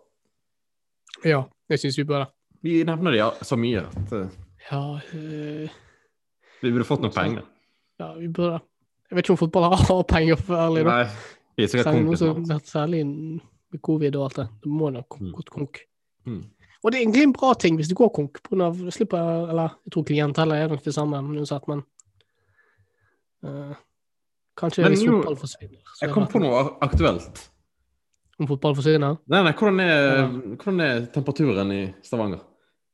Speaker 1: Ja, jeg syns vi bør det.
Speaker 2: Vi nevner det ja, så mye at eh,
Speaker 1: Ja, øh,
Speaker 2: vi burde fått noen
Speaker 1: Sånn.
Speaker 2: penger.
Speaker 1: ja, vi bør det. Jeg vet ikke om fotball har penger, for ærlig. da. Sånn,
Speaker 2: Nei, vi er sikkert
Speaker 1: Særlig nå
Speaker 2: kompiser.
Speaker 1: som særlig med covid og alt det. Det må nok
Speaker 2: Mm.
Speaker 1: gått konk.
Speaker 2: Mm.
Speaker 1: Og det er egentlig en bra ting hvis det går konk, på grunn av slipper Eller jeg tror klientellet er nok det samme, men uansett, men eh, Kanskje
Speaker 2: Men
Speaker 1: hvis
Speaker 2: nå-
Speaker 1: fotball forsvinner. så er
Speaker 2: Jeg kom
Speaker 1: det-
Speaker 2: på noe ak- aktuelt.
Speaker 1: Om fotball forsvinner?
Speaker 2: Nei, nei, hvordan er, hvordan er temperaturen i Stavanger?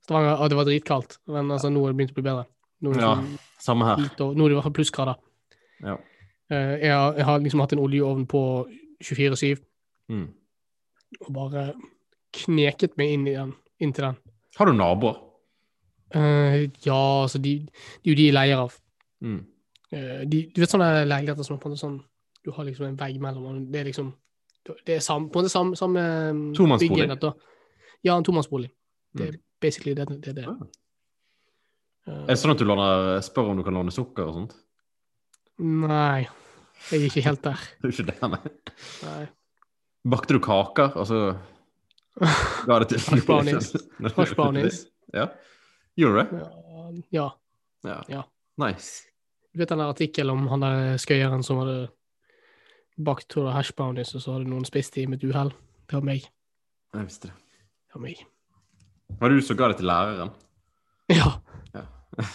Speaker 1: Stavanger ah, Det var dritkaldt, men altså, nå har det begynt å bli bedre. Nå er det,
Speaker 2: Ja,
Speaker 1: sånn
Speaker 2: samme her.
Speaker 1: litt over- nå er det i hvert fall plussgrader.
Speaker 2: Ja.
Speaker 1: Eh, jeg, har, jeg har liksom hatt en oljeovn på 24-7
Speaker 2: Mm.
Speaker 1: og bare kneket meg inn i den, inntil den.
Speaker 2: Har du naboer?
Speaker 1: Eh, ja, altså, de, det er jo de jeg leier av.
Speaker 2: Mm.
Speaker 1: Eh, de, du vet sånne leiligheter som er på en måte sånn Du har liksom en vegg mellom, og det er liksom Det er sam, på en måte samme, samme
Speaker 2: Tomannsbolig.
Speaker 1: byggenhet, da. Ja, en tomannsbolig. Det er
Speaker 2: Mm.
Speaker 1: basically det det, er det. Eh,
Speaker 2: Er det sånn at du låner, spør om du kan låne sukker og sånt?
Speaker 1: Nei, jeg er ikke helt der.
Speaker 2: Det er jo ikke det, nei.
Speaker 1: Nei.
Speaker 2: Bakte du kaker, og så ga det til
Speaker 1: Hush brownies. Hush brownies.
Speaker 2: Ja. Gjorde du det?
Speaker 1: Ja.
Speaker 2: Ja.
Speaker 1: Ja.
Speaker 2: Nice.
Speaker 1: Du vet den der artikkelen om han der skøyeren som hadde bakt to hash brownies, og så hadde noen spist de med et uhell? Det var meg.
Speaker 2: Jeg visste det.
Speaker 1: Det var meg.
Speaker 2: Var det du som ga det til læreren?
Speaker 1: Ja.
Speaker 2: Ja.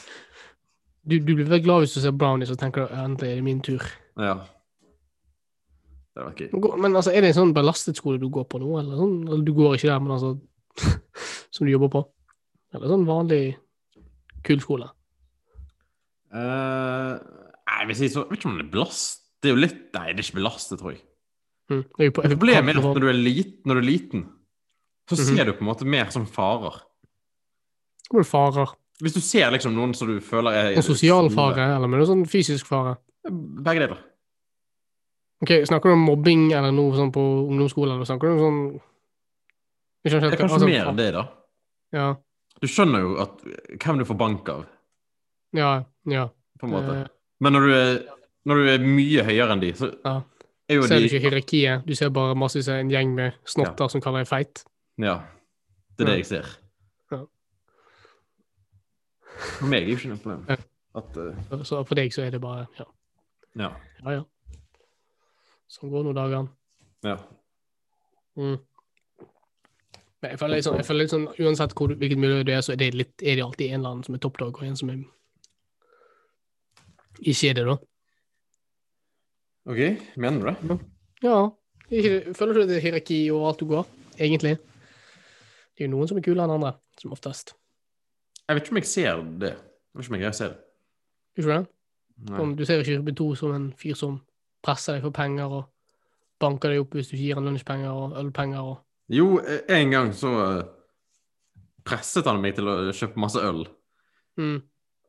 Speaker 1: Du, du blir vel glad hvis du ser brownies og tenker at endelig er det min tur.
Speaker 2: Ja. Det var gøy.
Speaker 1: Gå- Men altså, er det en sånn belastet skole du går på nå, eller sånn? Eller du går ikke der, men altså Som du jobber på? Eller sånn vanlig kul skole?
Speaker 2: Eh, nei, jeg vil si så, jeg vet ikke om det er belast. Det er jo litt Nei, det er ikke belastet, tror jeg.
Speaker 1: Mm. Jeg er jo på- jeg er på
Speaker 2: Problemet er
Speaker 1: kanten
Speaker 2: at
Speaker 1: av-
Speaker 2: når du er, lit, når du er liten, så
Speaker 1: Mhm.
Speaker 2: ser du på en måte mer som farer.
Speaker 1: Kommer det farer?
Speaker 2: Hvis du ser liksom noen som du føler er
Speaker 1: En sosial fare, eller med noe sånn fysisk fare?
Speaker 2: Begge deler.
Speaker 1: Ok, Snakker du om mobbing eller noe sånn på ungdomsskolen? Eller snakker du om sånn Jeg skjønner
Speaker 2: Det
Speaker 1: ikke
Speaker 2: er
Speaker 1: helt hva-
Speaker 2: kanskje
Speaker 1: altså,
Speaker 2: mer enn det, da.
Speaker 1: Ja,
Speaker 2: Du skjønner jo at eh, hvem du får bank av,
Speaker 1: ja, ja.
Speaker 2: på en måte.
Speaker 1: Eh,
Speaker 2: Men når du er, når du er mye høyere enn de, så
Speaker 1: Ja.
Speaker 2: er jo
Speaker 1: ser du
Speaker 2: de
Speaker 1: ikke hierarkiet? Du ser bare massevis av en gjeng med snotter som kaller deg feit.
Speaker 2: Ja. Det er det jeg ser.
Speaker 1: Ja.
Speaker 2: For meg er det jo ikke noe problem.
Speaker 1: Ja.
Speaker 2: At eh,
Speaker 1: Så for deg så er det bare ja,
Speaker 2: Ja.
Speaker 1: ja. ja. Sånn går nå dagene.
Speaker 2: ja.
Speaker 1: Mm. Men jeg føler litt sånn, jeg føler litt sånn uansett hvor, du- hvilket miljø du er, så er det, litt, er det alltid en eller annen som er toppdog, og en som er ikke er det, da.
Speaker 2: OK, mener du det?
Speaker 1: Ja. Ikke- Føler du det er hierarki over alt du går, egentlig? Det er jo noen som er kulere enn andre, som oftest.
Speaker 2: Jeg vet ikke om jeg ser det. Jeg vet ikke om jeg greier å se det.
Speaker 1: Ikke sant?
Speaker 2: Nei.
Speaker 1: Om du ser ikke Ruben 2 som en fyr som presser deg for penger og banker deg opp hvis du ikke gir han lunsjpenger og ølpenger og
Speaker 2: Jo, eh, en gang så eh, presset han meg til å kjøpe masse øl.
Speaker 1: mm.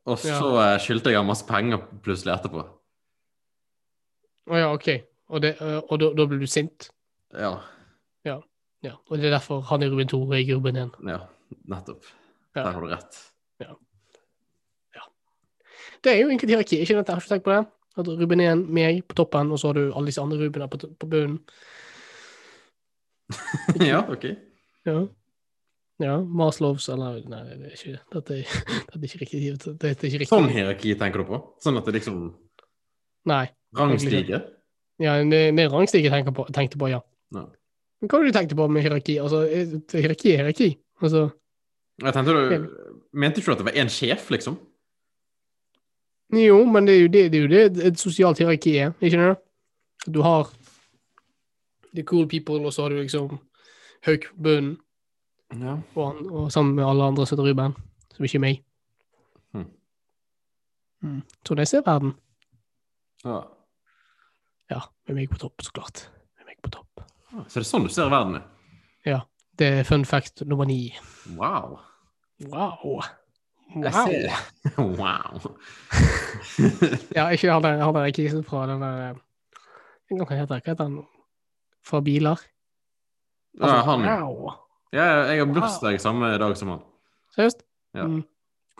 Speaker 2: Og så
Speaker 1: Ja.
Speaker 2: eh, skyldte jeg ham masse penger plutselig etterpå.
Speaker 1: Å ja, OK. Og, det, øh, og da, da blir du sint?
Speaker 2: Ja.
Speaker 1: Ja. Og det er derfor han er Ruben 2 og jeg er Ruben 1.
Speaker 2: ja nettopp.
Speaker 1: Ja.
Speaker 2: Der har du rett.
Speaker 1: Det er jo egentlig et hierarki. Ikke sant? Jeg har ikke tenkt på det. At Ruben er en meg på toppen, og så har du alle disse andre Rubener på, t- på bunnen.
Speaker 2: ja, OK.
Speaker 1: Ja. ja. Maslows eller Nei, det er ikke Dette er, dette er ikke riktig. Dette er ikke riktig.
Speaker 2: Sånn hierarki tenker du på? Sånn at det liksom
Speaker 1: Nei.
Speaker 2: rangstiger?
Speaker 1: Ja, det, det er rangstig jeg tenker på, tenkte på, ja.
Speaker 2: Ja.
Speaker 1: Men hva var det du tenkte på med hierarki? Altså, eh, hierarki er hierarki. Altså,
Speaker 2: Jeg tenkte du Mente ikke du at det var én sjef, liksom?
Speaker 1: jo, men det er jo det, det, er jo det et sosialt hierarki er, ikke det? At Du har the cool people, og så har du liksom Hauk på bunnen,
Speaker 2: Ja.
Speaker 1: og, han- og sammen med alle andre sitter Ruben, som ikke er meg.
Speaker 2: Hmm.
Speaker 1: Mm.
Speaker 2: Hm.
Speaker 1: Sånn jeg ser verden.
Speaker 2: ja.
Speaker 1: Ja, med meg på topp, så klart. Med meg på topp.
Speaker 2: Så det er sånn du ser verden? ja.
Speaker 1: Det er fun fact nummer ni.
Speaker 2: Wow.
Speaker 1: Wow.
Speaker 2: Jeg
Speaker 1: Wow.
Speaker 2: ser Wow.
Speaker 1: Ja, ikke han der, han der kisen fra den der eh, jeg vet Hva heter han? Hva heter han? Fra biler? Altså,
Speaker 2: Ja, han, ja.
Speaker 1: Wow.
Speaker 2: Ja, jeg har bursdag samme dag som han.
Speaker 1: Seriøst?
Speaker 2: Ja.
Speaker 1: Mm.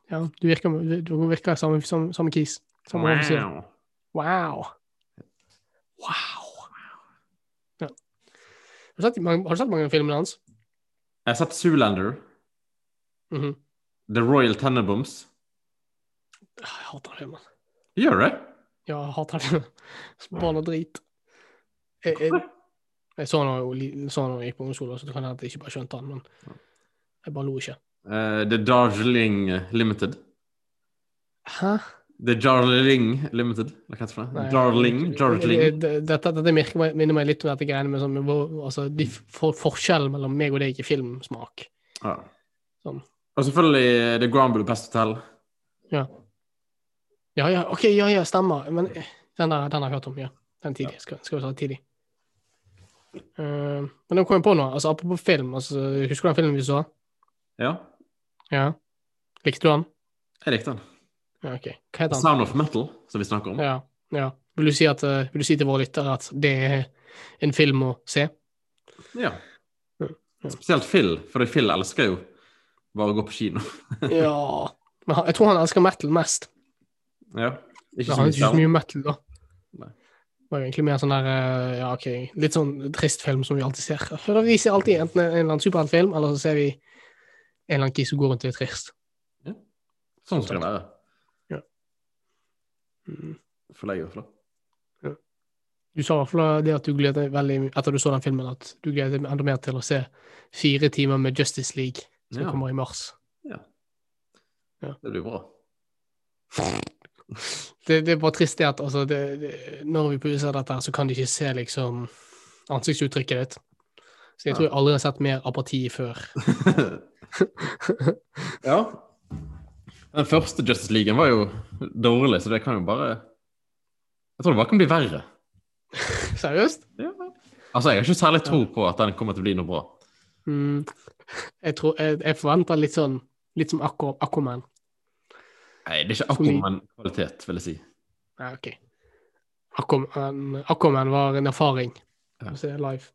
Speaker 1: ja du virker, du virker samme, samme, samme kis. Samme offiser.
Speaker 2: Wow.
Speaker 1: Wow. Wow. Ja. Har du sett mange, har du sett mange av filmene hans?
Speaker 2: Jeg har sett Zoolander,
Speaker 1: Mhm.
Speaker 2: The Royal Tenenbombs.
Speaker 1: Ah, Jeg hater den filmen.
Speaker 2: Gjør du det?
Speaker 1: Ja, jeg hater den filmen. Spann og drit. Jeg, jeg, jeg så den jo li- så den da jeg gikk på ungdomsskolen, så det kan hende at jeg ikke bare skjønte den, men jeg bare lo ikke.
Speaker 2: Eh, The Darjeeling Limited.
Speaker 1: Hæ?
Speaker 2: The Darjeeling Limited. Hva heter det? for noe?
Speaker 1: Nei,
Speaker 2: Darling?
Speaker 1: jeg-
Speaker 2: Darjeeling?
Speaker 1: jeg- det- Dette, dette merker, meg- minner meg litt om dette greiene med sånn, med hvor, altså, de for, forskjellen mellom meg og deg i filmsmak.
Speaker 2: Ja.
Speaker 1: Sånn.
Speaker 2: Og selvfølgelig eh, The Grand Budapest Hotel.
Speaker 1: Ja, ja, ok, ja, ja, stemmer. Men eh, Den, har- den har jeg hørt om, ja. Den tidlig. Skal, skal vi ta tidlig. Eh, men nå kom jeg på noe. Altså, apropos film. Altså, husker du den filmen vi så?
Speaker 2: Ja,
Speaker 1: Ja. Likte du den?
Speaker 2: jeg likte den.
Speaker 1: Ja, OK. Hva heter den?
Speaker 2: Sound of Metal, som vi snakker om.
Speaker 1: Ja. ja. Vil, du si at, eh, vil du si til våre lyttere at det er en film å se?
Speaker 2: Ja. Spesielt Phil, for Phil elsker jo bare å gå på kino.
Speaker 1: Ja Men han, jeg tror han elsker metal mest.
Speaker 2: Ja. Ikke
Speaker 1: Men
Speaker 2: så
Speaker 1: han er
Speaker 2: mye
Speaker 1: ikke så
Speaker 2: sound.
Speaker 1: mye metal, da.
Speaker 2: Nei.
Speaker 1: Det var egentlig mer sånn der eh, ja, ok, litt sånn trist film som vi alltid ser. For da Vi ser alltid enten en eller annen superheltfilm, eller så ser vi en eller annen kis som går rundt og er trist.
Speaker 2: Sånn skal det være.
Speaker 1: Mm.
Speaker 2: Føler jeg i hvert fall.
Speaker 1: Du sa i hvert fall det at du gledet deg veldig etter du så den filmen, at du gledet deg enda mer til å se fire timer med Justice League som
Speaker 2: Ja.
Speaker 1: kommer i mars.
Speaker 2: Det blir bra.
Speaker 1: Det, det er bare trist det at altså, det, det, når vi publiserer dette, her, så kan de ikke se liksom ansiktsuttrykket ditt. Så jeg
Speaker 2: Ja.
Speaker 1: tror jeg aldri har sett mer apati før.
Speaker 2: ja. Den første Justice League var jo dårlig, så det kan jo bare Jeg tror det bare kan bli verre.
Speaker 1: Seriøst?
Speaker 2: Altså, jeg har ikke særlig tro på at den kommer til å bli noe bra.
Speaker 1: Mm. Jeg, tror, jeg, jeg forventer litt sånn Litt som Aqu- Aquaman.
Speaker 2: Nei, det er ikke
Speaker 1: For mye.
Speaker 2: akkurat en kvalitet, vil jeg si.
Speaker 1: Nei, ok. Aquaman, Aquaman var en erfaring.
Speaker 2: Ja.
Speaker 1: Å se live.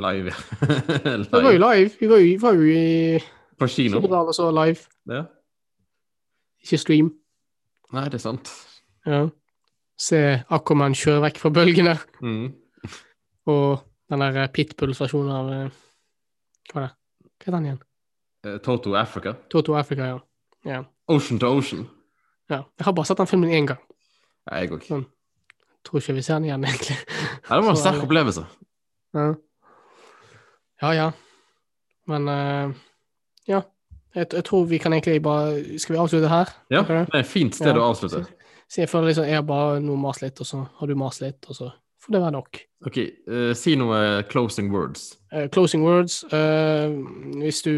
Speaker 2: Live.
Speaker 1: Vi var jo
Speaker 2: live.
Speaker 1: live. Vi var jo, vi var jo i
Speaker 2: På kino.
Speaker 1: Kjøpedal og så live.
Speaker 2: Ja.
Speaker 1: Ikke stream.
Speaker 2: Nei, det er sant.
Speaker 1: Ja. Se Aquaman kjøre vekk fra bølgene.
Speaker 2: Mm.
Speaker 1: Og den der Pitbull-versjonen av eh, Hva er det? Hva heter den igjen?
Speaker 2: Eh, Toto Africa.
Speaker 1: Toto Africa, ja. ja.
Speaker 2: Ocean to Ocean.
Speaker 1: ja. Jeg har bare sett den filmen én gang.
Speaker 2: Nei, Jeg òg.
Speaker 1: Mm. Tror ikke vi ser den igjen, egentlig.
Speaker 2: Ja, det var en
Speaker 1: Så
Speaker 2: sterk
Speaker 1: ærlig.
Speaker 2: opplevelse.
Speaker 1: Ja ja. ja. Men eh, ja. Jeg, jeg tror vi kan egentlig bare Skal vi avslutte her?
Speaker 2: Ja, det
Speaker 1: Tenker du?
Speaker 2: er et fint sted
Speaker 1: Ja.
Speaker 2: å avslutte.
Speaker 1: Så jeg føler liksom jeg har bare noe mas litt, og så har du mas litt, og så får det være nok.
Speaker 2: Ok, eh, si noe closing words.
Speaker 1: Eh, closing words. eh, hvis du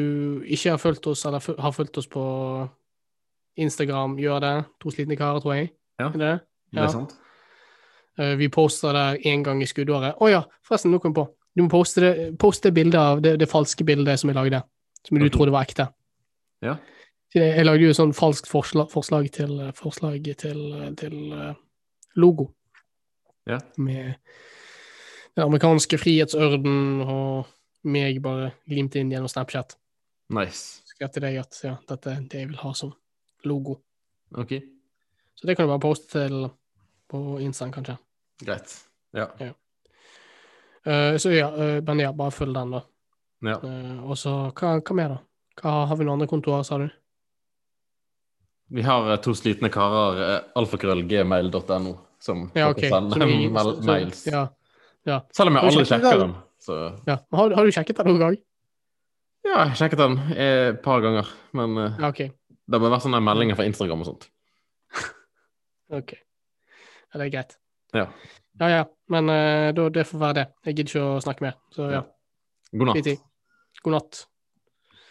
Speaker 1: ikke har fulgt oss, eller fu- har fulgt oss på Instagram, gjør det. To slitne karer, tror jeg.
Speaker 2: Ja.
Speaker 1: Er det det?
Speaker 2: Det
Speaker 1: Ja.
Speaker 2: er sant?
Speaker 1: Eh, vi poster der én gang i skuddåret. Å ja, forresten, nå kom jeg på. Du må poste, det, poste bildet av det, det falske bildet som jeg lagde, som du
Speaker 2: Ok.
Speaker 1: trodde var ekte.
Speaker 2: Ja.
Speaker 1: Så Jeg, jeg lagde jo et sånt falskt forslag, forslag til, eh, forslag til, eh, til eh, logo.
Speaker 2: Ja.
Speaker 1: Med den amerikanske frihetsørden og meg bare limt inn gjennom Snapchat.
Speaker 2: Nice.
Speaker 1: Skrev til deg at ja, dette er det jeg vil ha som logo.
Speaker 2: Ok,
Speaker 1: Så det kan du bare poste til på Instaen, kanskje.
Speaker 2: greit. Ja.
Speaker 1: Eh, så ja, eh, men ja, bare følg den, da.
Speaker 2: ja.
Speaker 1: Eh, og så hva, hva mer, da? Hva, har vi noen andre kontorer, sa du?
Speaker 2: Vi har eh, to slitne karer, eh, alfakrøllgmail.no, som
Speaker 1: Ja,
Speaker 2: dere
Speaker 1: ok.
Speaker 2: sender
Speaker 1: Så vi-
Speaker 2: mel-
Speaker 1: så-
Speaker 2: mails.
Speaker 1: Ja,
Speaker 2: Selv om jeg
Speaker 1: Har du
Speaker 2: aldri
Speaker 1: sjekket
Speaker 2: sjekker
Speaker 1: den?
Speaker 2: den. Så
Speaker 1: ja. Men Har, har du sjekket den noen gang?
Speaker 2: ja, jeg har sjekket den eh, et par ganger, men eh,
Speaker 1: Ja, ok.
Speaker 2: det må være sånne meldinger fra Instagram og sånt.
Speaker 1: ok. Ja, det er greit.
Speaker 2: Ja.
Speaker 1: Ja, ja. Men eh, da, det får være det. Jeg gidder ikke å snakke mer. Så ja,
Speaker 2: God
Speaker 1: drit
Speaker 2: natt.
Speaker 1: i. God natt.